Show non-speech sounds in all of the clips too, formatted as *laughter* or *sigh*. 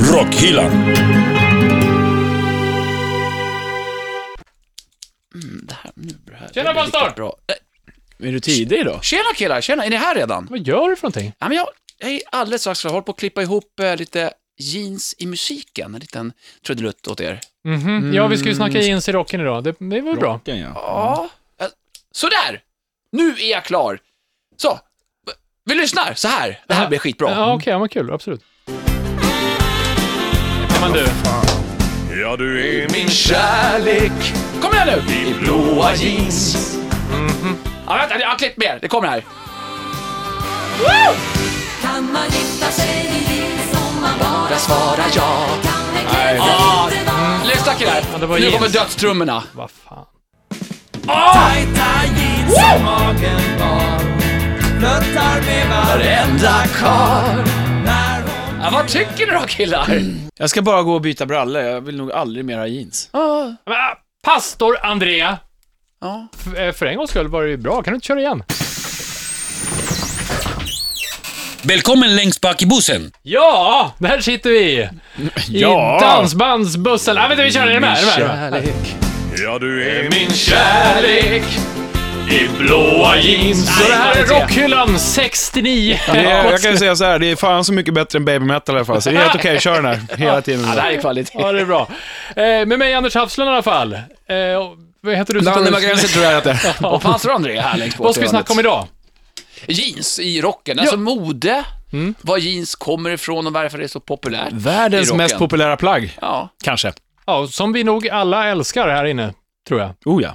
Rockhyllan. Mm, Det här, nu, det här det blir Tjena, Bastard! riktigt Bra. Äh, Är du tidig då? Tjena killar, tjena, Är ni här redan? Vad gör du för någonting? Ja, men jag, jag är alldeles strax klar. Jag håller på att klippa ihop eh, lite jeans i musiken. En liten trudelutt åt er. Mhm. Ja, vi ska ju snacka jeans i rocken idag. Det, det var ju bra. Rocken, ja. Ja. eh, Sådär! Nu är jag klar. Så. Vi lyssnar så här. Det här blir skitbra. Ja, okej, ja, men kul. Absolut. Ja, men du. Ja, du är min... Kärlek Kom igen nu! I blåa jeans Mhm. Ja, vänta, jag har klippt mer. Det kommer här. Kan man gifta sig i jeans om man bara Jag svarar ja. kan en kille Ja. mm, inte vara Lyssna killar. Ja, det var nu jeans. kommer dödstrummorna. Vad fan. Varenda karl. Ja, vad tycker ni då killar? Jag ska bara gå och byta brallor, jag vill nog aldrig mer ha jeans. Ja, Men, ah, Pastor Andrea! Ja. F- eh, för en gångs skull var det ju bra. Kan du inte köra igen? Välkommen längst bak i bussen. Ja! Där sitter vi! I Ja. dansbandsbussen. Ah, vänta, vi kör. Är du med? Är du med? Kärlek. Ja, du är min... Kärlek. I blåa jeans. Så det här är kvalitet. Rockhyllan 69. Det är, Eh, jag kan ju säga så här, det är fan så mycket bättre än baby metal i alla fall, så det är helt okej, kör den här hela tiden. Ja, det här är kvalitet. Ja, det är bra. Eh, med mig Anders Hafslund i alla fall. Eh, och vad heter du? som Danne står- Magränsen tror jag att det är. Och pastor André här längst bort Vad ska vi i snacka om hörnet. idag? Jeans i rocken, alltså mode. Var jeans kommer ifrån och varför det är så populärt. i Världens rocken. mest populära plagg, Ja. kanske. Ja, som vi nog alla älskar här inne, tror jag. Oh ja.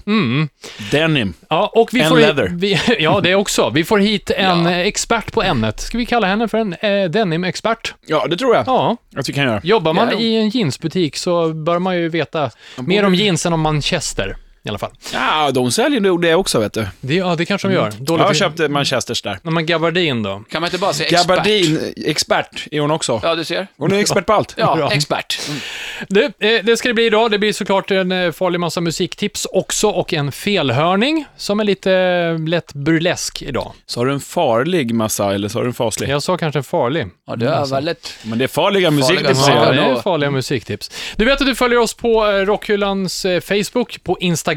Denim. Ja, och vi And får hit, leather. vi, *laughs* Ja, det också. Vi får *laughs* hit en Ja. eh, expert på ämnet. Ska vi kalla henne för en eh, denim-expert? Ja, det tror jag Ja. att vi kan göra. Jobbar man Ja. i en jeansbutik så bör man ju veta mer om jeans än om Manchester. I alla fall. Ja, de säljer nog det också, vet du. Det, Mm. ja, det kanske de gör. Dåligt. Jag har köpt eh, Manchesters där. När man gabardin då. Kan man inte bara säga expert? Gabardin, eh, expert är hon också. Ja, du ser. Hon är expert på allt. Ja, Bra. expert. Mm. Du, eh, det ska det bli idag. Det blir såklart en eh, farlig massa musiktips också och en felhörning som är lite eh, lätt burlesk idag. Sa du en farlig massa, eller sa du en faslig? Jag sa kanske en farlig. Ja, det är väldigt... Men det är farliga musik, det Farliga säger massa. Ja, jag. det ja. är farliga musiktips. Du vet att du följer oss på eh, Rockhyllans eh, Facebook, på Instagram,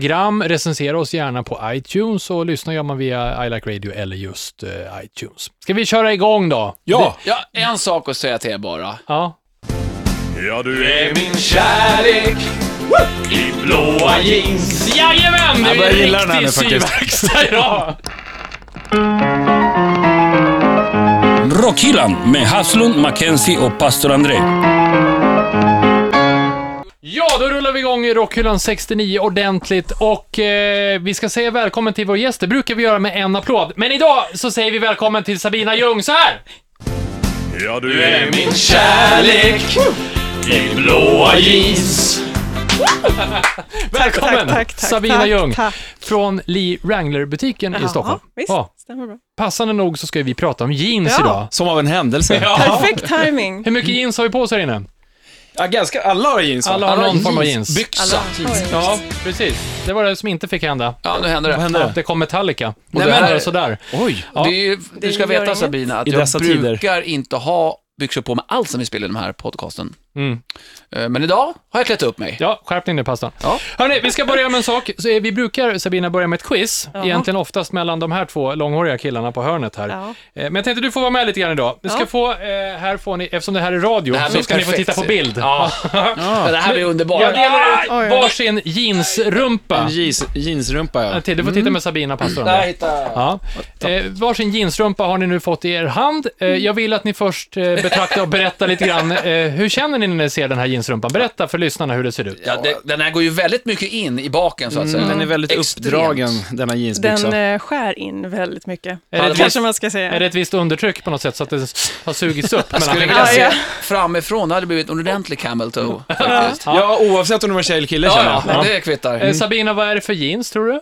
recensera oss gärna på iTunes och lyssna gör man via I Like Radio eller just eh, iTunes. Ska vi köra igång då? Ja! Ja, en sak att säga till er bara. Ja. Ja, du är min... Jajamän! Det börjar är gilla den här riktig nu faktiskt. *laughs* syverkstad idag! Rockhyllan med Haslund, Mackenzie och pastor André. Ja, då rullar vi igång i Rockhyllan 69 ordentligt och eh, vi ska säga välkommen till vår gäst. Det brukar vi göra med en applåd. Men idag så säger vi välkommen till Sabina Ljung så här! Ja, du är min... Välkommen! tack, tack, Sabina tack, Ljung tack. från Lee Wrangler-butiken i Stockholm. Ja, visst. Ja, Stämmer bra. passande nog så ska vi prata om jeans Ja. idag. Som av en *laughs* händelse. Perfekt timing. Hur mycket jeans har vi på oss här inne? Ja, ganska, alla har jeans va? Alla har någon form av jeans. Byxa. Oj. Ja, precis. Det var det som inte fick hända. Ja, nu händer det. Ja, det kom Metallica. Och Nej, det men- hände sådär. Oj! Ja. Det är ju, du ska gör veta inget. Sabina, att I jag dessa brukar inte ha byxor på mig alls när vi spelar den här podcasten. Mm. Eh, Men idag har jag klätt upp mig. Ja, skärpning nu pastan. Ja. Hörni, vi ska börja med en sak. Så, eh, vi brukar, Sabina, börja med ett quiz. Egentligen oftast mellan de här två långhåriga killarna på hörnet här. Ja. Eh, Men jag tänkte du får vara med lite grann idag. Ni ska Ja. få, eh, här får ni, eftersom det här är radio, Det här så blir ska ni få perfekt. titta på bild. Ja. Ja, Det här blir underbart. Jag delar ut Oj, oj, oj. varsin jeansrumpa. En jeans, jeansrumpa ja. Till, du får titta Mm. med Sabina, pastor. Där hittar jag. Ja. Eh, varsin jeansrumpa har ni nu fått i er hand. Eh, Mm. jag vill att ni först eh, betraktar och berättar lite grann. Eh, hur känner ni när ni ser den här jeansrumpan? Berätta för lyssnarna hur det ser ut. Ja, det, den här går ju väldigt mycket in i baken så att säga. Den är väldigt Extremt. uppdragen, denna jeansbyxa. Den eh, skär in väldigt mycket. Är det ett kanske visst- man ska säga. Är det ett visst undertryck på något sätt så att det har sugits upp mellan Skulle fingrarna? vilja Ja, se ja. framifrån, det hade blivit en ordentlig camel toe faktiskt. Ja, oavsett om du var tjej eller kille Ja, känner jag. Mm. ja, men det kvittar. Eh, Sabina, vad är det för jeans tror du?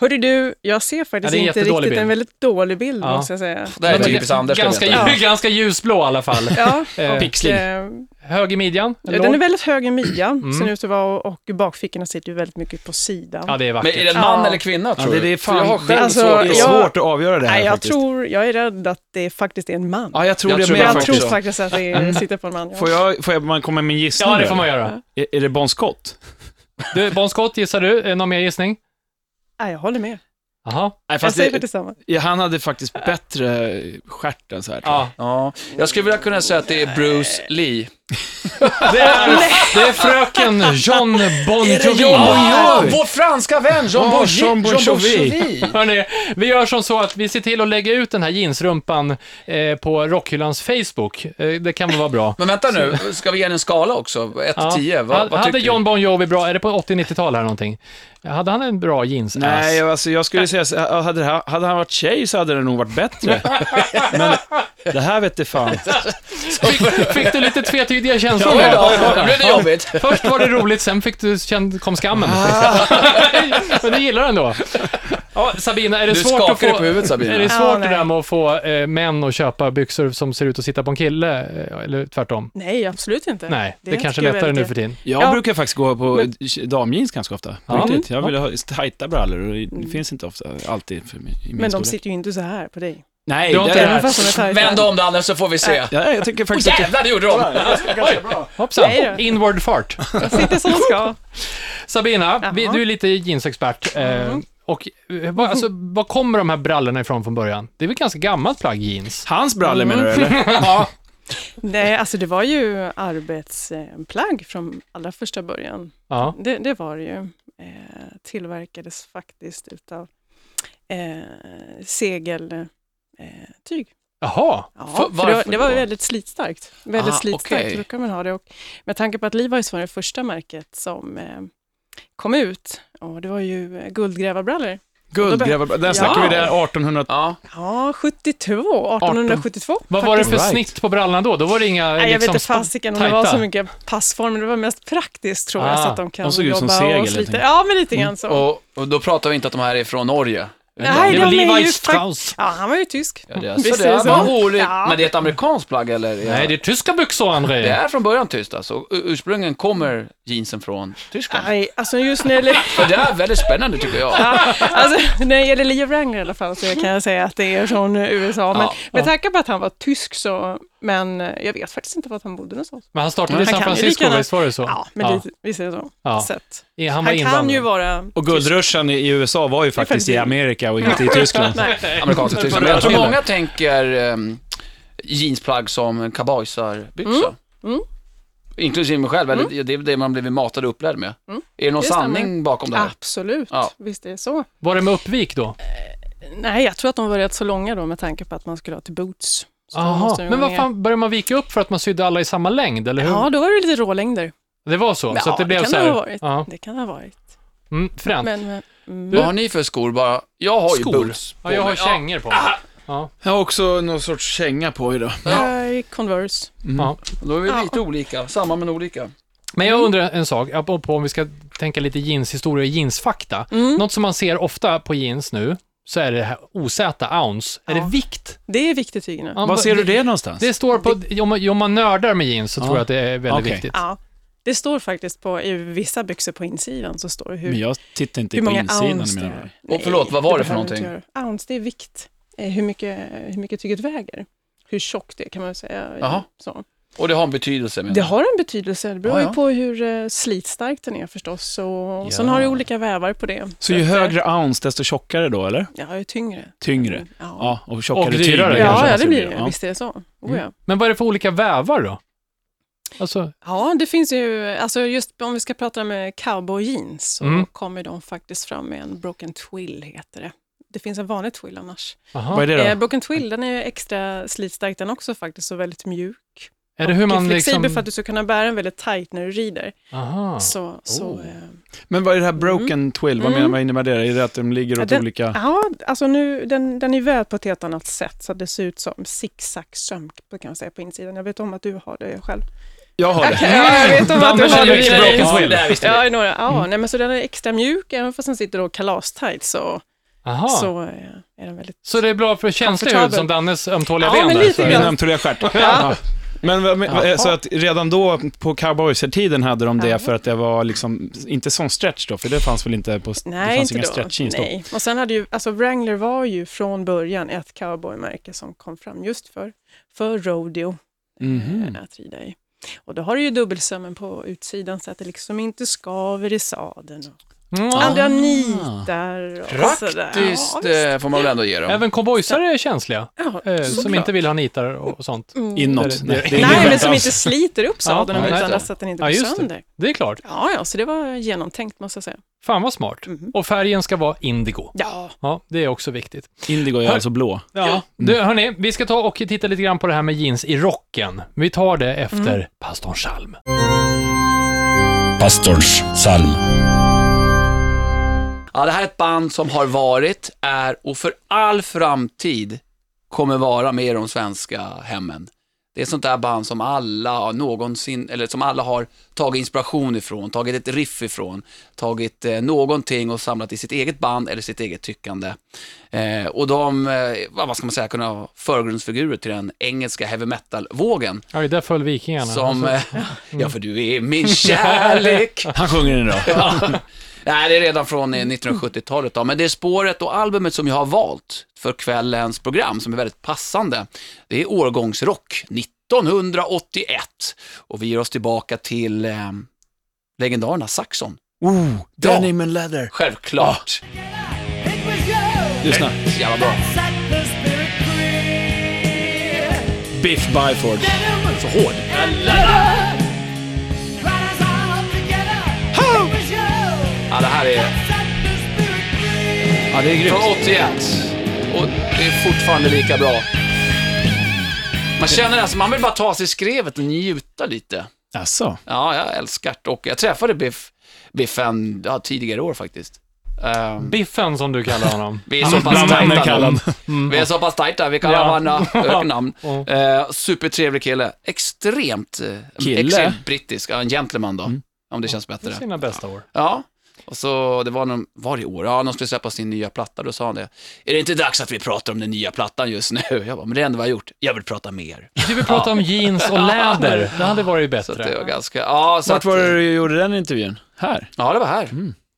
Hörde du, jag ser Ja, faktiskt det är en inte jättedålig riktigt bild. en väldigt dålig bild Ja. måste jag säga. Det här är Men typiskt Anders. ska ganska, vi veta. lju- ganska ljusblå i alla fall. Ja, *laughs* Eh, och, Pixlig. eh, Höger midjan? ja, den är väldigt hög i midjan, Mm. ser den ut att vara, och bakfickorna sitter ju väldigt mycket på sidan. Ja, det är Men vackert. är det en man Ja. eller kvinna tror det- du? det är För fan- jag har själv Alltså, svårt Det är att- jag- svårt att avgöra det här Nej, jag faktiskt. tror, jag är rädd att det faktiskt är en man. Ja, jag tror Jag det tror med Men jag faktiskt så. tror faktiskt att det Mm. är, sitter på en man. Ja. Får jag, får jag man komma med en gissning? ja, det då, får man eller? göra. Är, är det Bon Scott? Du, Bon Scott, gissar du? Är det Någon mer gissning? Nej, jag håller med. Jaha. Nej, Jag fast säger det, faktiskt samma. ja, han hade faktiskt bättre stjärt än så här. tror jag. Ja. Ja, jag skulle vilja kunna säga att det är Bruce Lee. Det är, det är fröken John Bon Jovi. ja, vår franska vän Jean Ja, Bon Jean Bon Jovi. Hörrni, vi gör som så att vi ser till att lägga ut den här jeansrumpan eh, på Rockhyllans Facebook. Eh, det kan väl vara bra. Men vänta nu, ska vi ge den en skala också? 1 till 10? Vad, vad hade tycker John du? Bon Jovi bra, är det på 80-90-tal här någonting? Hade han en bra jeans Nej, jag- alltså, jag skulle säga så här, hade, det här- hade han varit tjej så hade det nog varit bättre. *laughs* Men det här vet det fan. fick, fick du lite tvetydiga känslor? Oj där? då, nu blev det jobbigt. Först var det roligt, sen fick du, känd, kom skammen. Ah. *laughs* Men du gillar den då. Ja, Sabina, är det Du svårt att skakar få... på huvudet Sabina. Är det Ja, svårt det nej. där med att få eh, män att köpa byxor som ser ut att sitta på en kille, eh, eller tvärtom? Nej, absolut inte. Nej, det, kanske är tycker jag lättare väl nu inte. för tiden. Jag Ja. brukar faktiskt gå på Men- damjeans ganska ofta. Ja. Ja. Jag vill ha tajta brallor och det finns inte ofta, alltid för min, i min Mm. Men de storlek. sitter ju inte så här på dig. Nej, Du har det inte- är... Även fast de är tajta. Vänd om det Anders så får vi se. Ja, jag tycker Oh, faktiskt att... Jävlar, det gjorde de! Hoppsan, Nej då. inward fart. Sitter som de ska. Sabina, vi, Jaha. Mm. du är lite jeansexpert. Eh, och eh, vad, alltså, vad kommer de här brallorna ifrån från början? Det är väl ganska gammalt plagg jeans? Hans brallor menar du Mm. *laughs* eller? Nej, alltså det var ju arbetsplagg från allra första början. *laughs* Ja. Det, det var det ju. Eh, tillverkades faktiskt utav eh, segeltyg. Eh, tyg. Jaha, ja, För- för det, var- varför det var då? väldigt slitstarkt. Väldigt Ah, slitstarkt, okej. då kan man ha det. Och med tanke på att Levi's var det första märket som eh, kom ut, och det var ju eh, guldgrävarbrallor. Guldgrävarbrallor. Där snackar vi det 1800... Ja, Ja, 72, 1872. vad var det för Right. snitt på brallorna då? Då var det inga Nej, jag liksom, vet inte fasiken om det tajta. var så mycket passformer, det var mest praktiskt tror jag, Ah, så att de kan de såg ut jobba som segel, och helt slita. enkelt. Ja, men lite Mm, grann så. och, och då pratar vi inte att de här är från Norge. Nej, Det var de är Levi ju Strauss. fakt- Ja, han var ju tysk. Ja, det är, Visst så är det det är så? vad roligt. Ja. Men det är ett amerikanskt plagg eller? Nej, det är tyska byxor, André. Det är från början tyst alltså. U- Ursprungligen kommer jeansen från Tyskland. Nej, alltså just när *laughs* det gäller, För det är väldigt spännande tycker jag. *laughs* alltså, när det gäller Leo Wrangler i alla fall så kan jag säga att det är från eh, USA. Men Ja, med tanke på att han var tysk så, men eh, jag vet faktiskt inte vart han bodde någonstans. Men han startade i Mm. Han San kan ju Francisco, lika gärna- visst var det så? Ja, men lite, vi säger så. Ja. så att, Ja, Han, han var kan ju invandrare. vara... Och guldruschen i- i USA var ju faktiskt i faktiskt- Amerika och *laughs* inte i Tyskland. Nej. Amerikanska Tyskland. Men jag tror många tänker ehm, jeansplagg som cowboysarbyxor. Mm. Inklusive mig själv, eller det är det man blivit matad och upplärd med. Är det någon Mm. Det stämmer. Ah. sanning bakom det här? Absolut, Ja. visst är det så. Var det med uppvik då? Nej, jag tror att de var rätt så långa då med tanke på att man skulle ha till boots. Så de Jaha, måste ju men vara vad ner. fan, började man vika upp för att man sydde alla i samma längd, eller hur? Ja, då var det lite rålängder. Det var så, så Ja, att det, det blev kan så det här. ha varit. Ja. Det kan det ha varit. Mm, fränt. Men, men, mm. Vad har ni för skor bara? Jag har ju Skor? boots på ja, jag har mig. kängor på mig. Jag har också någon sorts känga på idag. Nej, Converse. Ja. Ja, då är vi lite olika, samma men olika. Men Mm. jag undrar en sak, apropå om vi ska tänka lite jeanshistoria och jeansfakta. Mm. Något som man ser ofta på jeans nu, så är det här osäta ounce. Är det vikt? Det är viktigt tyg nu. Ja, Var ser du det någonstans? Det står på, om man, om man nördar med jeans så tror jag att det är väldigt Okej. viktigt. Ja. Det står faktiskt på, i vissa byxor på insidan så står det hur, Men jag tittar inte hur på många insidan ounce det menar jag. är. Och förlåt, vad var det för behöver du inte någonting? göra. Ounce, det är vikt. Eh, Hur mycket, hur mycket tyget väger. Hur tjockt det är, kan man väl säga. eh, Jaha. Så. Och det har en betydelse menar Det jag. har en betydelse, det beror Ja, ju ja. på hur eh, slitstark den är förstås. Och, och sen Ja. har du olika vävar på det. Så ju att, högre ounce, desto tjockare då, eller? eh, Ja, ju tyngre. Tyngre. Ja, Ja, och tjockare Och dyrare ja, tyg kanske ja, måste det blir det. Ja. Visst är det så. Oh, ja. Men vad är det för olika vävar då? Alltså, Ja, det finns ju, alltså just om vi ska prata med cowboy jeans så Mm. kommer de faktiskt fram med en broken twill heter det. Det finns en vanlig twill annars. aha. Vad är det Eh, då? broken twill, den är ju extra slitstark den också faktiskt och väldigt mjuk. Är det hur man flexibel liksom... för att du ska kunna bära den väldigt tight när du rider. Aha. Så, så, eh, Men vad är det här broken twill? Vad, menar, vad innebär det? Är det att de ligger Mm. Ja, åt den- olika... ja, alltså nu, den, den är vävd på ett helt annat sätt så att det ser ut som zigzag söm kan man säga på insidan. Jag vet om att du har det själv. Jag har det. Okej, ja, jag vet om att du har det. i mycket dig. broken twill. Ja, det här visste vi. Ja, i några, ja nej, men så den är extra mjuk, även fast den sitter då kalastajt så Aha. Så. så eh, är den väldigt... det är bra för känslig hud Komfortabel. som Dannes ömtåliga Ja, ben men där, lite så- Min grann. ömtåliga stjärt. Ja. Men, vad- men vad- så att redan då på cowboysertiden hade de det Ja. för att det var liksom, inte sån stretch då, för det fanns väl inte på, det Nej, fanns inte inga då. stretchjeans då. Nej. Och sen hade ju, alltså Wrangler var ju från början ett cowboymärke som kom fram just för, för rodeo, Mhm. eh, att rida i. Och då har du ju dubbelsömmen på utsidan så att det liksom inte skaver i sadeln. Och Ja. andra nitar och sådär. Ja, Praktiskt visst. eh, får man väl ändå ge dem. Även cowboysare är känsliga, Ja, eh, såklart. som inte vill ha nitar och och sånt. Inåt. Det- det- Det är Nej, men inåt. som inte sliter upp sadeln Ja, om nej, utan det. så att den inte Ja, går just det. sönder. Det är klart. Ja, ja, så det var genomtänkt måste jag säga. Fan vad smart. Mm. Och färgen ska vara indigo. Ja, Ja, det är också viktigt. Indigo är alltså blå. Ja. Du, hörni, vi ska ta och titta lite grann på det här med jeans i rocken. Vi tar det efter Mm. pastorn Salm. Pastorns psalm. Ja, det här är ett band som har varit, är och för all framtid kommer vara med i de svenska hemmen. Det är ett sånt där band som alla har någonsin, eller som alla har tagit inspiration ifrån, tagit ett riff ifrån, tagit eh, någonting och samlat i sitt eget band eller sitt eget tyckande. Eh, och de, eh, vad vad ska man säga, kunna vara förgrundsfigurer till den engelska heavy metal-vågen Ja, där föll vikingarna. Alltså, som, eh, *laughs* ja för du är min kärlek. Han sjunger den idag. Nej, det är redan från eh, 1970-talet då. Men det är spåret och albumet som jag har valt för kvällens program som är väldigt passande. Det är årgångsrock 1981 och vi ger oss tillbaka till eh, legendarerna Saxon. Oh, Ja. denim and leather. Självklart. Lyssna. Jävla bra. Biff Byford. Så hård. Ja, det här är Ja, det är grymt. från 81 och det är fortfarande lika bra. Man känner alltså, man vill bara ta sig skrevet och njuta lite. Alltså. Ja, jag älskar det och jag träffade Biff, Biffen ja, tidigare år faktiskt. Ehm, Biffen, som du kallar honom. Vi är så pass Bland vänner tajta. kallad. då. Vi är så pass tajta, vi kallar *laughs* Ja. varandra öknamn. Ja. Eh, supertrevlig kille. Extremt... eh, Kille? Mm. extremt brittisk, ja, en gentleman då. Om det känns bättre. Sina bästa år. Ja. Och så, det var någon, var det i år? Ja, de skulle släppa sin nya platta, då sa han det. Är det inte dags att vi pratar om den nya plattan just nu? *laughs* Jag bara, men det är ändå vad jag har gjort. Jag vill prata mer. Du vill prata om *laughs* jeans och läder. Det hade varit Så att bättre. det var ganska, ja, så Vart att, var det du gjorde den intervjun? Här? Ja, det var här.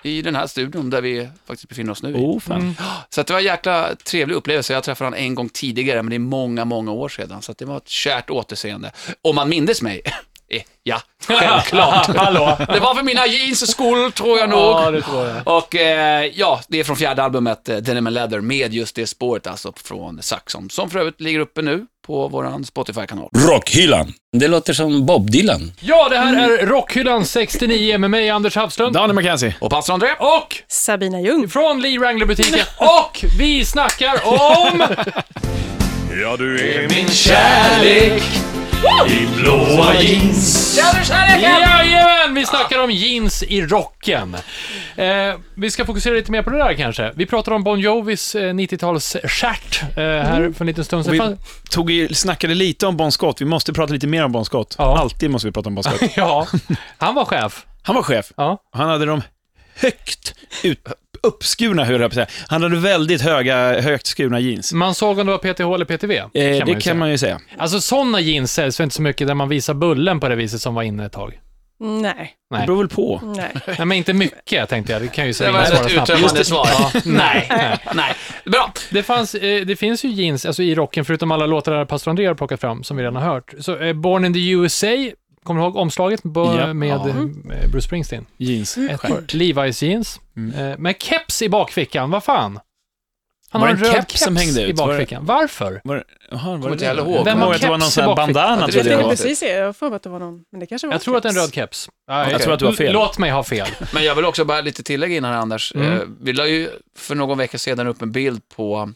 I den här studion där vi faktiskt befinner oss nu. i. Oh, fan. Så att det var en jäkla trevlig upplevelse. Jag träffade honom en gång tidigare, men det är många, många år sedan. Så att det var ett kärt återseende. Om man mindes mig. *laughs* Eh, Ja, självklart. *laughs* Hallå! Det var för mina jeans skull, tror jag Ja, nog. det tror jag. Och eh, ja, det är från fjärde albumet eh, Denim and Leather med just det spåret alltså från Saxon, som för övrigt ligger uppe nu på våran Spotify-kanal. Rockhyllan. Det låter som Bob Dylan. Ja, det här är Rockhyllan 69 med mig, Anders Hafslund. Danny McKenzie. Och pastor André, Och Sabina Ljung. från Lee Wrangler-butiken. *laughs* Och vi snackar om... Ja, du är min kärlek! i blåa jeans. Jajamän! Vi snackar om jeans i rocken. Eh, vi ska fokusera lite mer på det där kanske. Vi pratar om Bon Jovis eh, 90-talsstjärt eh, här för en liten stund sedan. Vi Fan- tog i, snackade lite om Bon Scott. Vi måste prata lite mer om Bon Scott. Ja. Alltid måste vi prata om Bon *laughs* Scott. *laughs* Ja, han var chef. Han var chef. Ja. Han hade de högt ut, uppskurna, hur jag på att säga. Han hade väldigt höga, högt skurna jeans. Man såg om det var PTH eller PTV. Eh, Mm. det ju kan man ju säga. säga. Alltså sådana jeans säljs väl inte så mycket där man visar bullen på det viset som var inne ett tag. Nej, Det beror väl på. *laughs* nej. Nej, men inte mycket tänkte jag. Det kan ju Det Sabina var svara ett snabbt. uttömmande svar. Nej, Nej. nej. Bra. Det, fanns, eh, det finns ju jeans alltså i rocken, förutom alla låtar där Pastor André har plockat fram, som vi redan har hört. Så eh, Born in the USA, kommer du ihåg omslaget Bo- Ja. Mm. med Ja. eh, Bruce Springsteen? Jeans. Ett par Levi's jeans, Mm. eh, med keps i bakfickan, vad fan? Han Var har en det en röd keps som hängde i ut? Var det- bakfickan. Varför? Var, aha, var Kommer inte det jag ihåg. Vem Vem har har att det var någon keps sån här i bakfickan? bandana, Jag trodde Jag jag. var det tänkte var. precis säga, jag får för att det var någon, men det kanske var Jag tror att det är en keps. röd keps. Ja, Jag okej. tror att du har fel. Låt mig ha fel. Men jag vill också bara lite tillägga innan Anders. Mm. Eh, vi la ju för någon vecka sedan upp en bild på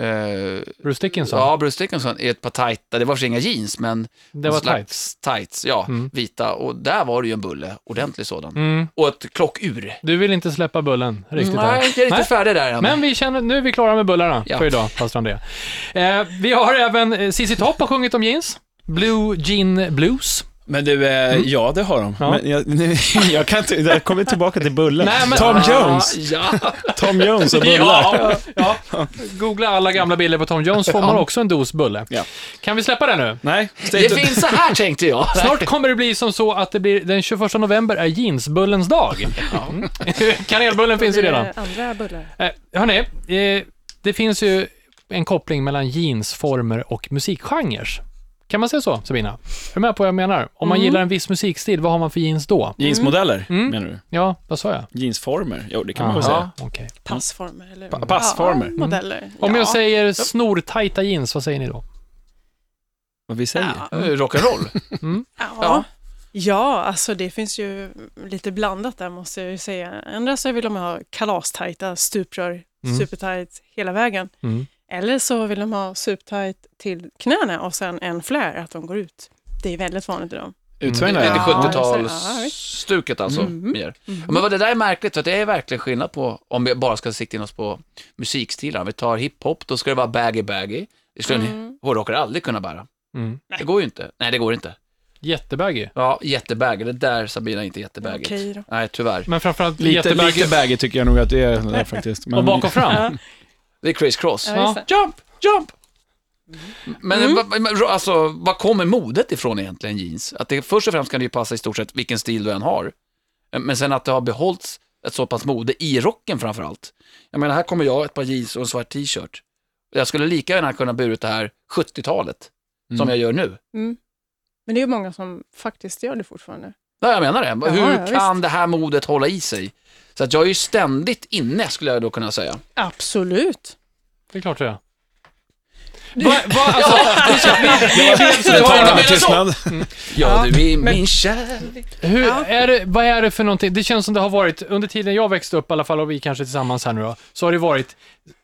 eh, Bruce Dickinson, ja, Bruce Dickinson i ett par tajta, det var för inga jeans, men det var en slags tights. tights, ja, Mm. vita. Och där var det ju en bulle, ordentlig sådan. Mm. Och ett klockur. Du vill inte släppa bullen riktigt Nej, jag är än. inte riktigt färdig där än. Men vi känner, nu är vi klara med bullarna Ja. för idag, pastor André. Eh, vi har även, eh, ZZ Topp har sjungit om jeans. Blue Jean Blues Men du, eh, ja det har de. Ja. Men jag, *laughs* nu, jag, kan inte, jag kommer tillbaka till bullen. Nej, men- Tom Jones. Ja, Tom Jones *laughs* och bullar. Ja, ja. Googla alla gamla bilder på Tom Jones får man också en dos bulle. Ja. Kan vi släppa det nu? Nej, stay det tuned. finns så här tänkte jag. Snart kommer det bli som så att det blir den 21 november är jeansbullens dag. Mm. *laughs* Kanelbullen finns ju redan. Eh, Andra bullar. Eh, hörni, eh, det finns ju en koppling mellan jeansformer och musikgenres. Kan man säga så, Sabina? Är du med på vad jag menar? Om Mm. man gillar en viss musikstil, vad har man för jeans då? mm. Jeansmodeller, menar du? Ja, vad sa jag? Jeansformer? Jo, det kan man väl säga. Ja, okej. Passformer eller? Pa- passformer. Ja, modeller. Mm. Om ja. jag säger snortajta jeans, vad säger ni då? Vad vi säger. Ja. Mm. Eh, Rock'n'roll. Ja. Ja. ja, alltså det finns ju lite blandat där måste jag ju säga. Ändra så vill de ha kalastajta stuprör, Mm. supertajt hela vägen. Mm. Eller så vill de ha supertajt till knäna och sen en flare, att de går ut. Det är väldigt vanligt i dem. Det Utsvängda. är Ja. Ja. 70-talsstuket alltså. Mm. Mer. Ja, Men vad det där är märkligt, för att det är verkligen skillnad på, om vi bara ska sikta in oss på musikstilar. Om vi tar hiphop, då ska det vara baggy-baggy. Det skulle Mm. en hårdrockare aldrig kunna bära. Mm. Det går ju inte. Nej, det går inte. Jättebaggy. Ja, jättebaggy. Det där Sabina är inte jättebaggy. Okej då. Nej, tyvärr. Men framförallt Lite, jättebaggy. lite baggy tycker jag nog att det är den där faktiskt. Men- och bak och fram. Det är Chris Cross. Ja, just det. Jump, jump! Men Mm. va- va- men, alltså, vad kommer modet ifrån egentligen, jeans? Att det först och främst kan det ju passa i stort sett vilken stil du än har. Eh, Men sen att det har behållits ett så pass mode i rocken framför allt. Jag menar, här kommer jag, ett par jeans och en svart t-shirt. Jag skulle lika gärna kunna burit det här 70-talet, som Mm. jag gör nu. Mm. Men det är ju många som faktiskt gör det fortfarande. Nej, jag menar det. Hur ja, visst. kan det här modet hålla i sig? Så att jag är ju ständigt inne, skulle jag då kunna säga. Absolut. Det är klart det *laughs* är. Det tar Ja, en men så- tystnad. Ja, du är men- min kär. Hur, är det, vad är det för någonting? Det känns som det har varit, under tiden jag växte upp i alla fall, och vi kanske tillsammans här nu då, så har det varit,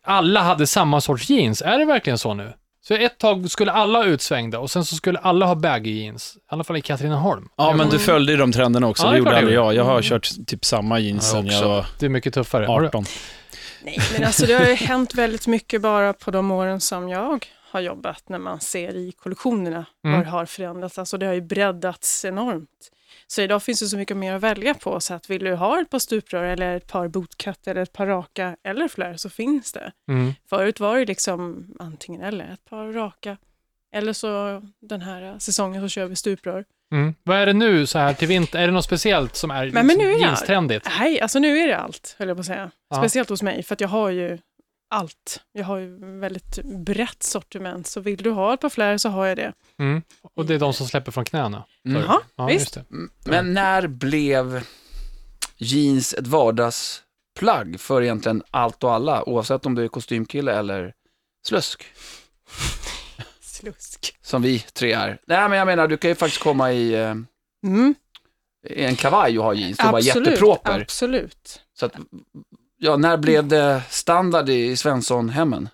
alla hade samma sorts jeans. Är det verkligen så nu? Så ett tag skulle alla ha utsvängda och sen så skulle alla ha baggy jeans. I alla fall i Katrineholm. Ja, men du följde ju de trenderna också. Ja, det det är klart gjorde jag aldrig jag. Jag har kört typ samma jeans Ja, sen jag också. var Det är mycket tuffare. Har du- 18. Nej, men alltså det har ju hänt väldigt mycket bara på de åren som jag har jobbat, när man ser i kollektionerna Mm. vad det har förändrats. Alltså det har ju breddats enormt. Så idag finns det så mycket mer att välja på, så att vill du ha ett par stuprör eller ett par bootcut eller ett par raka eller fler så finns det. Mm. Förut var det liksom antingen eller, ett par raka eller så den här eh, säsongen så kör vi stuprör. Mm. Vad är det nu så här till vinter? Är det något speciellt som är men nu är jag- jeanstrendigt? Nej, alltså nu är det allt, höll jag på att säga. Ja. Speciellt hos mig, för att jag har ju allt. Jag har ju väldigt brett sortiment, så vill du ha ett par fler så har jag det. Mm. Och det är de som släpper från knäna? Mm. Ja, Ja, visst. just det. Men när blev jeans ett vardagsplagg för egentligen allt och alla, oavsett om du är kostymkille eller slusk, Slusk. som vi tre är? Nej, men jag menar, du kan ju faktiskt komma i, eh, Mm, i en kavaj och ha jeans och vara absolut, jätteproper. absolut. Så att, ja, när blev det standard i Svenssonhemmen?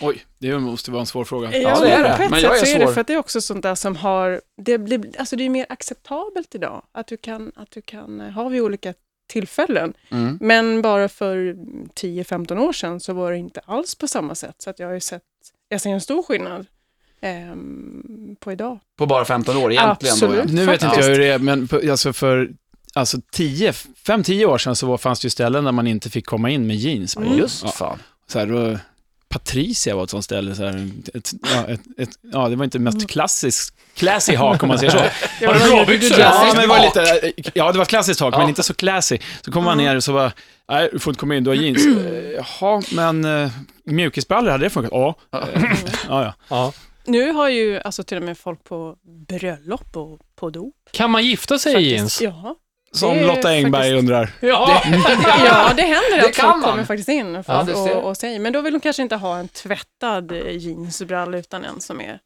Oj, det måste vara en svår fråga. Jag det är tror det. På ett Men sätt jag är så är det svår. för att det är också sånt där som har, det, blir, alltså det är mer acceptabelt idag, att du kan, att du kan eh, ha vid olika tillfällen. Mm. Men bara för 10-15 år sedan så var det inte alls på samma sätt, så att jag har ju sett, jag ser en stor skillnad ehm, på idag. På bara 15 år egentligen då, Absolut. Nu vet inte Faktiskt. jag hur det är, men på, alltså för alltså 10, 5-10 år sedan så var, fanns det ju ställen där man inte fick komma in med jeans på. Mm. ja. Just Ja, fan. så här, då, Patricia var ett sånt ställe, så här, ett, ja, ett, ett, ja, det var inte mest klassiskt, classy hak om man säger så. Var det blåbyxor? Ja, men det var lite, ja, det var ett klassiskt tak, Ja. men inte så classy. Så kom man ner och så var nej, du får inte komma in, du har jeans. Eh, Jaha, men uh, mjukisbrallor, hade det funkat? Ja. Eh, ja, ja. Ja. Nu har ju alltså till och med folk på bröllop och på dop. Kan man gifta sig i jeans? Ja, Som Det är Lotta Engberg faktiskt- undrar. Ja. ja det händer Det att kan folk man. kommer faktiskt in och, Ja, det ser jag. och, och säger, men då vill de kanske inte ha en tvättad eh, jeansbrall utan en som är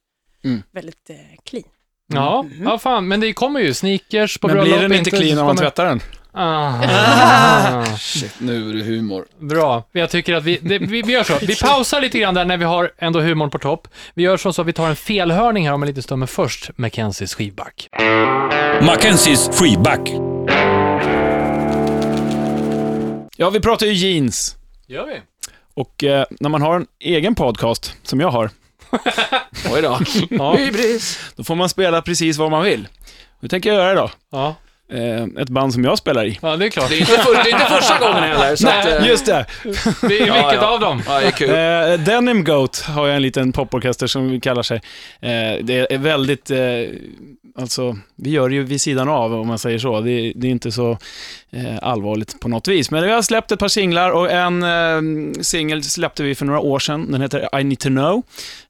Mm. väldigt eh, clean. Ja, ja, fan, men det kommer ju sneakers på Men bröllop. blir den inte clean om man kommer- tvättar den? Ah. Shit, nu är det humor. Bra. Jag tycker att vi, det, vi, vi gör så. Vi pausar lite grann där när vi har ändå humorn på topp. Vi gör så, så att vi tar en felhörning här om en liten stund, men först Mackenzies skivback. Mackenzies freeback. Ja, vi pratar ju jeans. Gör vi? Och eh, när man har en egen podcast, som jag har, *laughs* Oj då. Ja. Hybris. Då får man spela precis vad man vill. Hur tänker jag göra idag? Ja. Eh, ett band som jag spelar i. ja, det är klart. Det är inte, för, det är inte första gången heller. Så att, eh, Just det! Det är vilket Ja, ja. av dem? ja, det är kul. Eh, Denim Goat har jag en liten poporkester som kallar sig. Eh, det är väldigt, eh, alltså, vi gör det ju vid sidan av om man säger så. Det, det är inte så eh, allvarligt på något vis. Men vi har släppt ett par singlar och en eh, singel släppte vi för några år sedan. Den heter I Need To Know.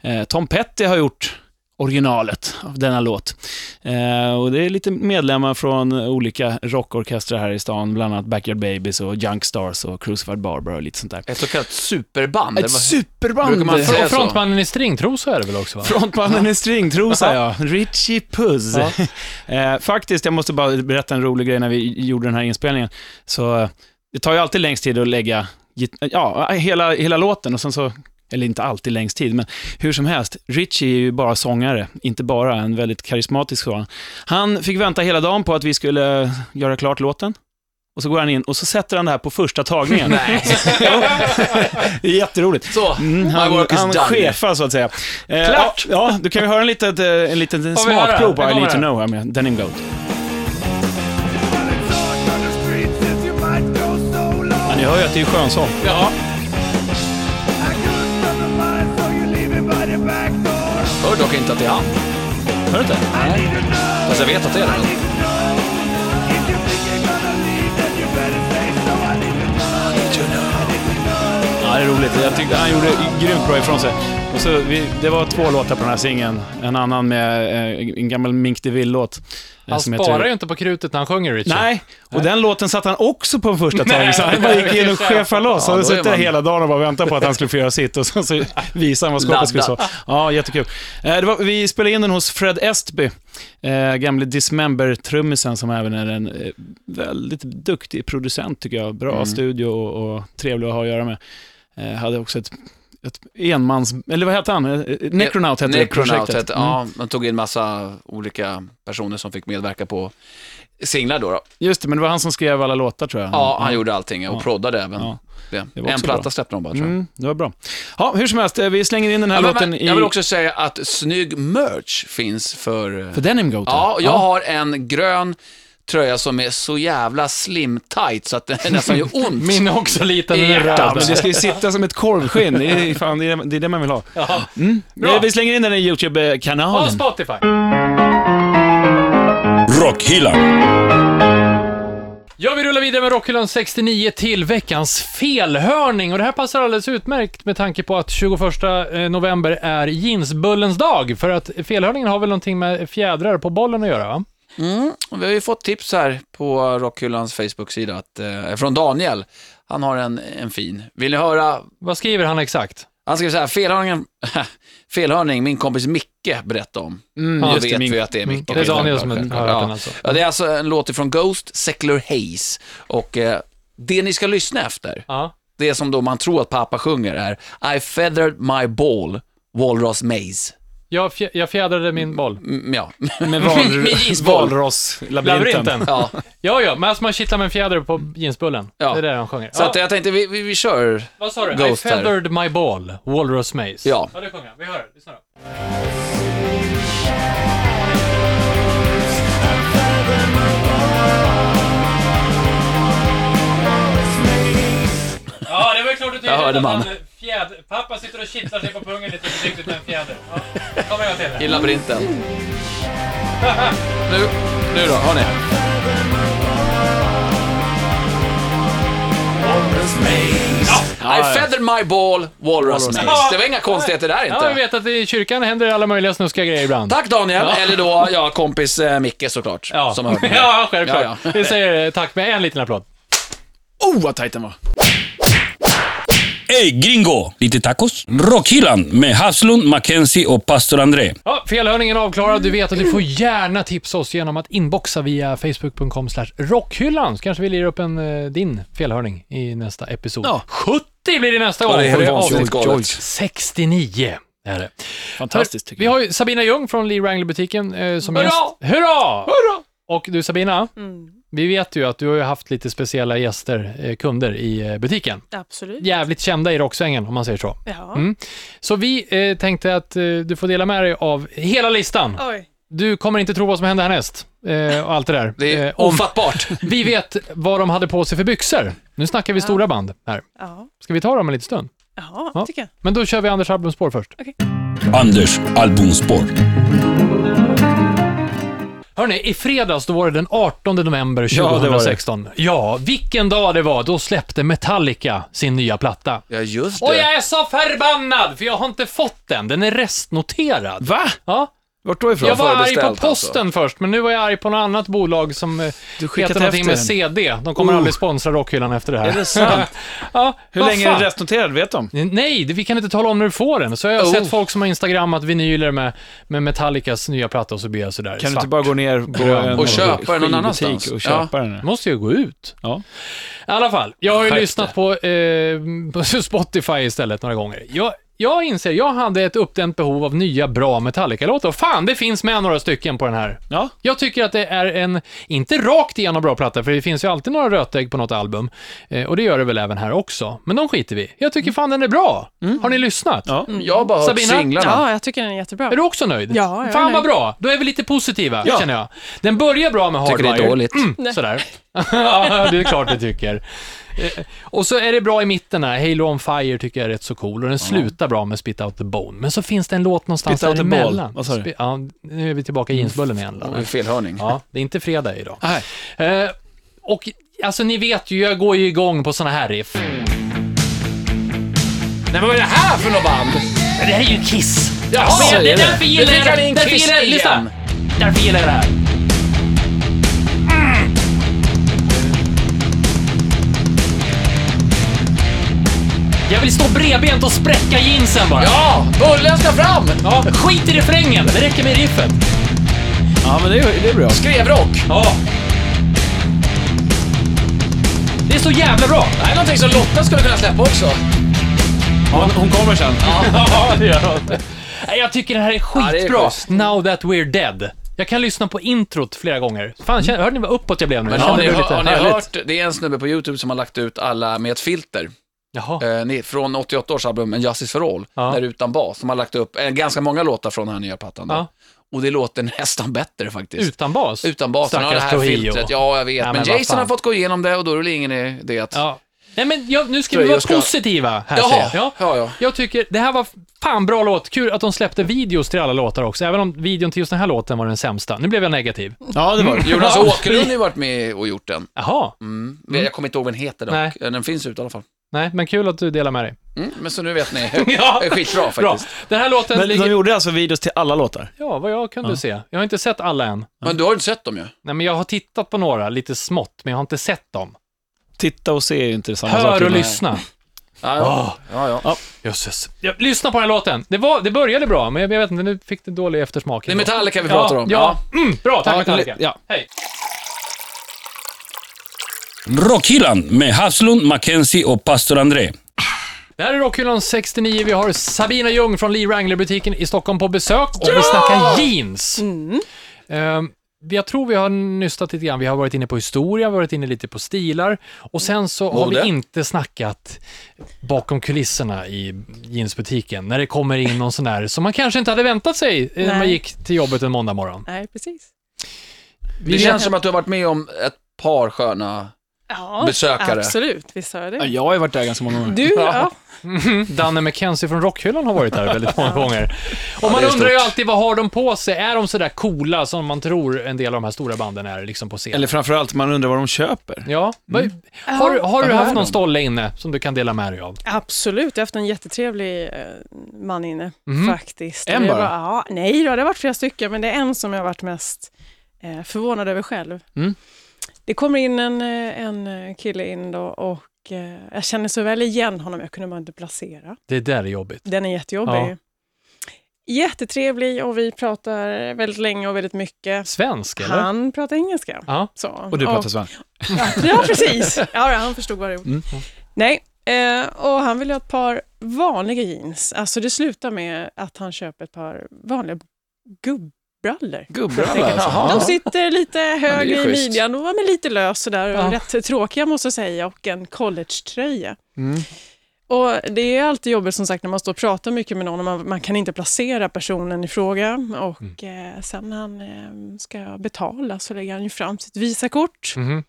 Eh, Tom Petty har gjort originalet av denna låt. Eh, och det är lite medlemmar från olika rockorkestrar här i stan, bland annat Backyard Babies och Junk Stars och Crucified Barbara och lite sånt där. Ett så kallat superband. Ett superband! Mm. Brukar man säga Fr- är så. Frontmannen i stringtrosa är det väl också? *laughs* Va? Frontmannen i stringtrosa, ja. Richie Puss. *laughs* eh, faktiskt, jag måste bara berätta en rolig grej när vi gjorde den här inspelningen. Så eh, det tar ju alltid längst tid att lägga git- ja, hela, hela låten och sen så, eller inte alltid längst tid, men hur som helst, Richie är ju bara sångare, inte bara en väldigt karismatisk sådan. Han fick vänta hela dagen på att vi skulle göra klart låten. Och så går han in och så sätter han det här på första tagningen. *laughs* Nej. Det är jätteroligt. Så, Mm, han my work is han done. chefar så att säga. Eh, Klart! Ja, ja, då kan vi höra en liten, eh, en liten vi höra? smakprov på Det I kommer need to här. know här med Denim Goat. Ja, ni hör ju att det är skönsång. Ja. Hör dock inte att det är han. Hör du inte? Fast jag vet att det är han. Ja, det är roligt. Jag tyckte han gjorde grymt bra ifrån sig. Och så, vi, det var två låtar på den här singeln. En annan med eh, en gammal Mink DeVille-låt. eh, Han som sparar ju inte på krutet när han sjunger, Richard. Nej, och den låten satte han också på en första tagning, så han nej, bara nej, gick in och precis. chefade loss. *laughs* Ja, han då hade är suttit där man- hela dagen och bara väntat på att han skulle få göra sitt och sen så *laughs* visade han vad skåpet skulle stå. Ladda. Ja, jättekul. Eh, Det var, vi spelade in den hos Fred Estby, eh, gamle Dismember-trummisen som även är en eh, väldigt duktig producent tycker jag. Bra Mm. studio och, och trevlig att ha att göra med. Eh, hade också ett, ett enmans... Eller vad hette han? Eh, eh, Necronaut hette det Necronaut projektet. Mm. hette, ja, man tog in massa olika personer som fick medverka på singlar då. då. Just det, men det var han som skrev alla låtar tror jag. Ja, han gjorde allting och proddade även. Mm. Ja. Det. var en också platta bra. släppte de bara, tror jag. Mm, det var bra. Ja, hur som helst, eh, vi slänger in den här Ja, men, låten men, i... Jag vill också säga att snygg merch finns för... För Denim Goat? ja, jag har en grön tröja som är så jävla slim tight så att den *laughs* nästan gör ont. Min är också liten, den är Ja, men det röd. ska ju sitta som ett korvskinn. Det är, fan, det, är, det är det man vill ha. Mm. Bra. Eh, Vi slänger in den i Ja, YouTube-kanalen. Spotify. Rockhyllan. Ja, vi rullar vidare med Rockhyllan 69 till veckans felhörning. Och det här passar alldeles utmärkt med tanke på att 21 november är jeansbullens dag. För att felhörningen har väl någonting med fjädrar på bollen att göra, va? Och Vi har ju fått tips här på Rockhyllans Facebook-sida att, eh, från Daniel. Han har en, en fin. Vill ni höra Vad skriver han exakt? Han skrev så här, felhörningen, *laughs* felhörning, min kompis Micke berättade om. Mm, just jag det, vet min- ju att det är Micke. Det är Daniel som har hört ja. den alltså. Ja, det är alltså en låt ifrån Ghost, Secular Haze. Och eh, det ni ska lyssna efter, Ja. det som då man tror att pappa sjunger är I feathered my ball, Walrus Maze. Jag, fj- jag fjädrade min boll. Mm, ja. Med *laughs* Min val- isboll. valross-labyrinten. Labyrinten. ja. Ja, ja, men alltså man kittlar med en fjäder på jeansbullen. Ja. Det är det han sjunger. Så ja. att jag tänkte, vi, vi, vi kör. Vad sa du? Ghost I här. feathered my ball, Walrus Maze. Ja. ja det sjunger han. Vi hör det. Lyssna då. Ja, det var ju klart och Jag hörde tydligt att man. han fjäder... Pappa sitter och kittlar sig på pungen lite försiktigt med en fjäder. Ja, kom igen till I det. labyrinten. nu, nu då, hör ni? I feathered my ball, walrus maze. Det var inga konstigheter där Ja, vi inte. vet att i kyrkan händer alla möjliga snuskiga grejer ibland. Tack Daniel, eller då ja, kompis eh, Micke såklart. Ja, Som har hört det. *laughs* ja självklart. Ja, ja. Vi säger eh, tack med en liten applåd. Oh, vad tajt den var! Ey gringo! Lite tacos? Rockhyllan med Haslund, Mackenzie och pastor André. Ja, felhörningen avklarad. Du vet att du får gärna tipsa oss genom att inboxa via facebook.com slash rockhyllan. Så kanske vi lirar upp en, eh, din felhörning i nästa episod. Ja. 70 blir det nästa gång! det är För det avsnitt avsnitt galet. 69 är det. Fantastiskt, tycker Vi jag. har ju Sabina Ljung från Lee Wrangler-butiken eh, som Hurra! gäst. Hurra! Hurra! Och du Sabina, Vi vet ju att du har ju haft lite speciella gäster, eh, kunder i eh, butiken. Absolut. Jävligt kända i rocksvängen, om man säger så. Ja. Mm. Så vi eh, tänkte att eh, du får dela med dig av hela listan. Oj. Du kommer inte tro vad som hände härnäst eh, och allt det där. Det är Eh, om, ofattbart. vi vet vad de hade på sig för byxor. Nu snackar vi stora band här. Ja. Ska vi ta dem en liten stund? Jaha, Ja. tycker jag. Men då kör vi Anders albumspår först. Anders albumspår. Hörni, i fredags då var det den 18 november Ja, det var det. 2016. Ja, vilken dag det var. Då släppte Metallica sin nya platta. *laughs* Ja, just Och det. jag är så förbannad, för jag har inte fått den. Den är restnoterad. Va? Ja, Vart då ifrån? jag var arg på förbeställt posten alltså. först, men nu var jag arg på något annat bolag som eh, Du skickat heter någonting efter den. med CD. De kommer Uh. aldrig sponsra Rockhyllan efter det här. Är det sant? Ja, *laughs* Hur vad länge fan? är det restnoterad? Vet de? Nej, det- vi kan inte tala om när du får den. Så jag har Oh. sett folk som har instagrammat vinyler med, med Metallicas nya platta och så blir jag sådär Kan du svart. inte bara gå ner på Grön. en Och köpa den någon skivbutik annanstans? Och köpa den. Det måste ju gå ut. Ja. I alla fall, jag har ju Skärp lyssnat på, eh, *laughs* på Spotify istället några gånger. Jag, jag inser, jag hade ett uppdämt behov av nya bra Metallica-låtar. Fan, det finns med några stycken på den här. Ja. Jag tycker att det är en, inte rakt igenom bra platta, för det finns ju alltid några rötägg på något album. Eh, och det gör det väl även här också. Men de skiter vi i. Jag tycker fan den är bra. Har ni lyssnat? Mm. Ja. Jag har bara hört Sabina? singlarna. Ja, jag tycker den är jättebra. Är du också nöjd? Ja, jag är Fan vad nöjd. bra! Då är vi lite positiva, Ja. känner jag. Den börjar bra med Tycker Hardwire. det är dåligt. Mm, sådär. *laughs* ja, det är klart du tycker. Eh, Och så är det bra i mitten här, Halo on Fire tycker jag är rätt så cool och den slutar bra med Spit Out the Bone. Men så finns det en låt någonstans Spit Out the Ball. däremellan. Vad sa du? Mm. Spi- ja, nu är vi tillbaka i jeansbullen igen. Lalle. Och en Felhörning. Ja, det är inte fredag idag. Eh, och alltså ni vet ju, jag går ju igång på såna här riff. Nej men vad är det här för något band? Det här är ju Kiss. Ja, så men det är är det. därför gillar Nu fick jag han in därför Kiss gillar jag- lyssna. igen. Därför gillar jag det här. Jag vill stå bredbent och spräcka jeansen bara. Ja, bullen ska fram! Ja, skit i refrängen, det räcker med riffet. ja, men det är, det är bra. Skrevrock! Ja. Det är så jävla bra. Det här är någonting som Lotta skulle kunna släppa också. Hon, hon kommer sen. Ja, det gör hon. Nej, jag tycker den här är Ja, det är skitbra. schysst. Now that we're dead. Jag kan lyssna på introt flera gånger. Fan, känner, hörde ni vad uppåt jag blev nu? Men Jag har kände ni, mig har ni härligt. hört, det är en snubbe på YouTube som har lagt ut alla med ett filter. Jaha. Eh, ni- från 88 års album En Justice for All, Ja. där utan bas, som har lagt upp eh, ganska många låtar från den här nya plattan. då. Ja. Och det låter *laughs* nästan bättre faktiskt. Utan bas? Eh, Utan basen har det Stackars här Trujillo. filtret, ja jag vet. Ja, men men, vad Jason har fan. fått gå igenom det och då är det väl ingen idé att... Ja. Nej, men jag, nu ska Tror vi jag vara jag ska- positiva här Jaha, ser jag. ja, ja. Jag tycker, det här var fan bra låt. Kul att de släppte videos till alla låtar också, även om videon till just den här låten var den sämsta. Nu blev jag negativ. Ja, det var det. Jonas *laughs* Ja. Åkerlund har ju varit med och gjort den. Jaha. Mm. Jag kommer inte ihåg vad den heter dock. Eh, Nej. Den finns ute i alla fall. Nej, men kul att du delar med dig. Mm. Men så nu vet ni. *laughs* Ja. Eh, Skitbra Bra. faktiskt. Den här låten Men ligger... de gjorde alltså videos till alla låtar? Ja, vad jag kunde se. Jag har inte sett alla än. Men du har ju inte sett dem ju. Nej, men jag har tittat på några, lite smått, men jag har inte sett dem. Titta och se är ju inte samma sak. Hör Nej. och lyssna. Ja, ja. ja, ja. Jösses. Ja, lyssna på den här låten. Det, var, det började bra, men jag, jag vet inte, nu fick det dålig eftersmak. Det är Metallica vi pratar ja, om. ja. Mm, bra, tack Ja, Metallica. li- ja. Hej. Rockhyllan med Havslund, Mackenzie och pastor André. Det här är Rockhyllan 69. Vi har Sabina Ljung från Lee Wrangler-butiken i Stockholm på besök och vi snackar jeans. Mm. Ehm, jag tror vi har nystat lite grann. Vi har varit inne på historia, vi har varit inne lite på stilar och sen så har Mode. vi inte snackat bakom kulisserna i jeansbutiken när det kommer in någon sån där som man kanske inte hade väntat sig eh, när man Nej. gick till jobbet en måndag morgon. Nej, precis. Vi Det vet- känns som att du har varit med om ett par sköna... Ja, Besökare. Absolut, visst har jag Ja, det. jag har ju varit där ganska många gånger. Du, ja. Danne McKenzie från Rockhyllan har varit där väldigt många gånger. Och man det är undrar ju stort. alltid, vad har de på sig? Är de sådär coola som man tror en del av de här stora banden är liksom på scen? Eller framförallt, man undrar vad de köper. Ja. vad- Har, har du Vad Mm. är haft någon de? stolle inne som du kan dela med dig av? Absolut, jag har haft en jättetrevlig eh, man inne faktiskt. Mhm. En Det bara? var- Ja, nej då, det har varit flera stycken, men det är en som jag har varit mest eh, förvånad över själv. Mm. Det kommer in en, eh, en eh, kille in då och eh, jag känner så väl igen honom, jag kunde bara inte placera. Det där är jobbigt. Den är jättejobbig. Ja. Jättetrevlig och vi pratar väldigt länge och väldigt mycket. Svensk, eller? Han pratar engelska. Ja. Så. Och du pratar svenska. Ja, precis. Ja, ja, han förstod vad det gjorde. Nej, eh, och han vill ha ett par vanliga jeans. Alltså det slutar med att han köper ett par vanliga gubbbrallor. Gubbrallar De alltså. sitter lite högre i schysst. midjan och ja, men lite lös sådär och Ja. rätt tråkiga måste jag säga och en collegetröja. Mm. Och det är alltid jobbigt som sagt när man står och pratar mycket med någon och man, man kan inte placera personen i fråga och Mm. eh, sen när han eh, ska betala så lägger han ju fram sitt Visakort Mhm.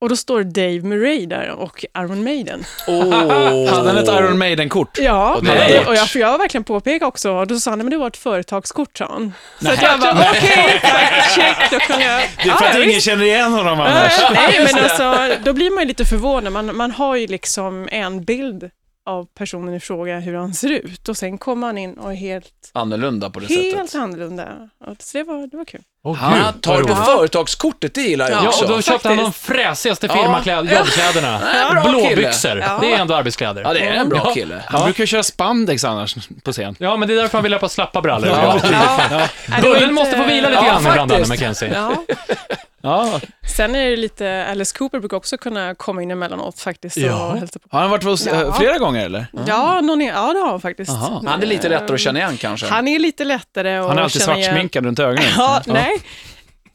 och då står Dave Murray där och Iron Maiden. Oh. Hade han ett Iron Maiden-kort? Ja, och, det är och jag, för jag har verkligen påpekat också, och då sa han, "Nej, men det var ett företagskort, sa han. Så att jag bara, okej, tack, check, då kan jag... Det är för Ja, att ja, ingen visst. känner igen honom Ja, annars. ja, Eh, Nej, men alltså, då blir man ju lite förvånad. Man, man har ju liksom en bild av personen i fråga, hur han ser ut, och sen kommer han in och är helt, Annorlunda på det helt sättet. annorlunda. Ja, Så det var, det var kul. Åh, Han gud, tar vad på roligt. företagskortet, det gillar jag Ja, Ja, också. och då köpte han de fräsigaste firmakläderna, jobbkläderna. Ja, bra kille. Blåbyxor. Ja. Det är ändå arbetskläder. Ja, det är en bra Ja. kille. Han brukar ju köra spandex annars på scen. Ja, men det är därför han vill ha på slappa brallor. Ja. Nej, det var Bullen inte- måste få vila lite Ja, grann ibland, Anna faktiskt. Mackenzie. Ja. Ja. Sen är det lite, Alice Cooper brukar också kunna komma in emellanåt faktiskt och Ja. hälsa på. Har han varit hos Ja. eh, flera gånger eller? Ja, någon är, ja det har han faktiskt. Eh, Aha. Han är lite lättare att känna igen kanske. Han är lite lättare att Han är alltid känna igen. svartsminkad runt ögonen. Ja, nej.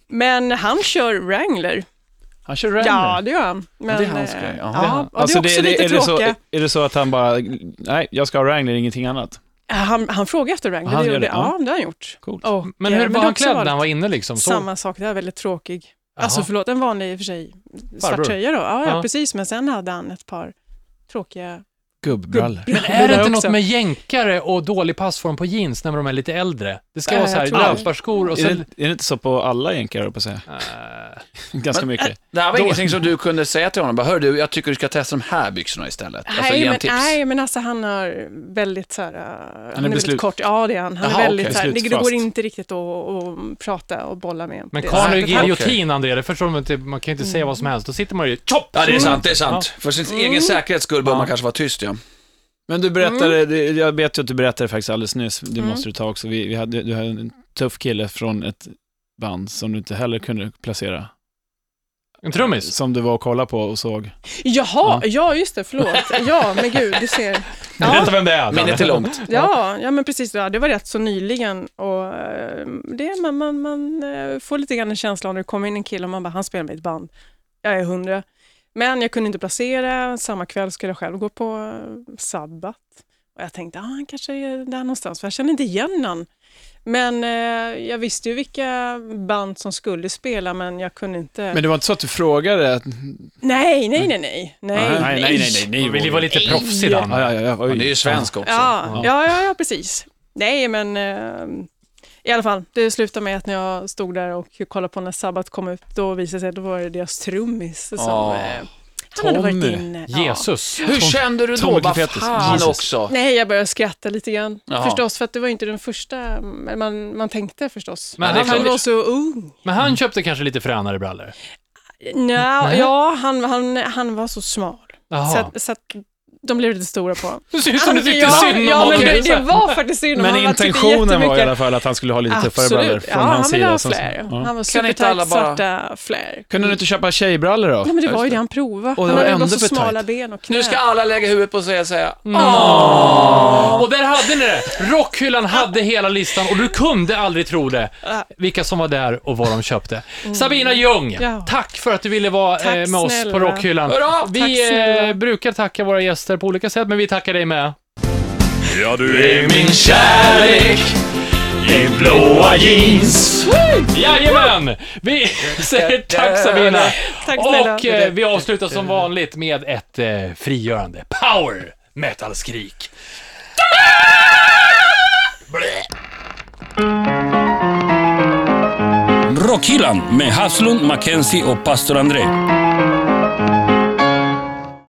Men han kör Wrangler. Han kör Wrangler. Ja, det gör han. Men, det är hans eh, grej, ja. Ja, Det är han. och det är också lite är, det så, tråkiga. är det så att han bara, nej, jag ska ha Wrangler, ingenting annat? Han, han frågade efter Wrangler, Han det gör gjorde det, Ja, det har han gjort. Coolt. Och, Men eh, hur var det han också klädd varit när han var inne liksom? Så... Samma sak, det var väldigt tråkig. Alltså Jaha. förlåt, en vanlig i och för sig Farbror. svart tröja då. Ja, ja, Ja. precis. Men sen hade han ett par tråkiga Gubbbrallor. Men är det brallor inte något också. med jänkare och dålig passform på jeans när de är lite äldre? Det ska Nej, vara så här jag tror det. löparskor och Är, sen... det, är det inte så på alla jänkar, höll jag på att säga? Äh, *laughs* Ganska mycket. Det här var Då- ingenting som du kunde säga till honom. Bara, Hör du, jag tycker du ska testa de här byxorna istället. Alltså, nej, ge en men, tips. nej, men alltså han har väldigt så här, uh, han är beslut- väldigt kort. Ja, det är han. Han Jaha, är väldigt okej. så här, det, det Beslutsfast. går inte riktigt att, att prata och bolla med. men på det karln har ju sättet. giljotin, André. Det förstår man inte. typ- Man kan ju inte Mm. säga vad som helst. Då sitter man ju... Chop! Ja, det är sant, det är sant. För sin egen säkerhets skull bör man kanske vara tyst, ja. Men du berättade, Mm. det- jag vet ju att du berättade faktiskt alldeles nyss, det måste du ta också, vi, vi hade, du hade en tuff kille från ett band som du inte heller kunde placera. En trummis. Som du var och kollade på och såg. Jaha, ja. just det, förlåt. Ja, men gud, du ser. Berätta Ja, vem det är. Danne. Minnet är långt. ja, ja men precis. Ja, det var rätt så nyligen och eh, det, man, man, man eh, får lite grann en känsla när det kommer in en kille och man bara, han spelar med ett band. Jag är hundra. Men jag kunde inte placera, samma kväll skulle jag själv gå på eh, sabbat. Och jag tänkte, ah, han kanske är där någonstans, för jag kände inte igen han. Men eh, jag visste ju vilka band som skulle spela, men jag kunde inte... Men det var inte så att du frågade? att- Nej, nej, nej, nej. Nej, nej, nej, nej, nej, nej. Man vill ju vara lite proffsig, Danne. Ja, ja, ja, oj. Han är ju svensk också. Ja, ja, ja, ja precis. Nej, men eh, i alla fall, det slutade med att när jag stod där och kollade på när Sabbat kom ut, då visade det sig att det var deras trummis som... Ah, eh, han hade varit Tommy. inne. ja. Jesus. Hur kände du Tom då? Vad Klepetus. fan Jesus. också. Nej, jag började skratta lite grann. Jaha. Förstås, för att det var inte den första men man, man tänkte förstås. Men Men det är han, klart. var så ung. Men han köpte kanske lite fränare brallor. Nja, ja, han, han, han var så smal. Så, Jaha. att, så att de blev lite stora på honom. Alltså, Det ser ut som du tyckte ja, synd om ja, men honom. det, det var faktiskt synd om Men honom. Han tyckte intentionen var i jättemycket- alla fall att han skulle ha lite tuffare brallor från ja, hans han ville sida. ha som- flare. Ja. Han var Kan inte alla supertajt, bara- svarta flare. Kunde du inte köpa tjejbrallor då? Ja, men det var ju det han provade. han hade var ju bara ändå så för smala tajt. ben och knä. Nu ska alla lägga huvudet på sig och säga, Och där hade ni det! Rockhyllan hade hela listan och du kunde aldrig tro det. Vilka som var där och vad de köpte. Sabina Ljung, Mm. Ja. tack för att du ville vara Tack eh, med oss på snälla. Rockhyllan. Hurra! Tack Vi snälla. eh, brukar tacka våra gäster på olika sätt, men vi tackar dig med. Ja, du är min Jajamän! *laughs* Vi säger tack Sabina! Tack snälla. Och eh, vi avslutar som vanligt med ett eh, frigörande power metal-skrik. Rockhyllan med Haslund, Mackenzie och pastor André.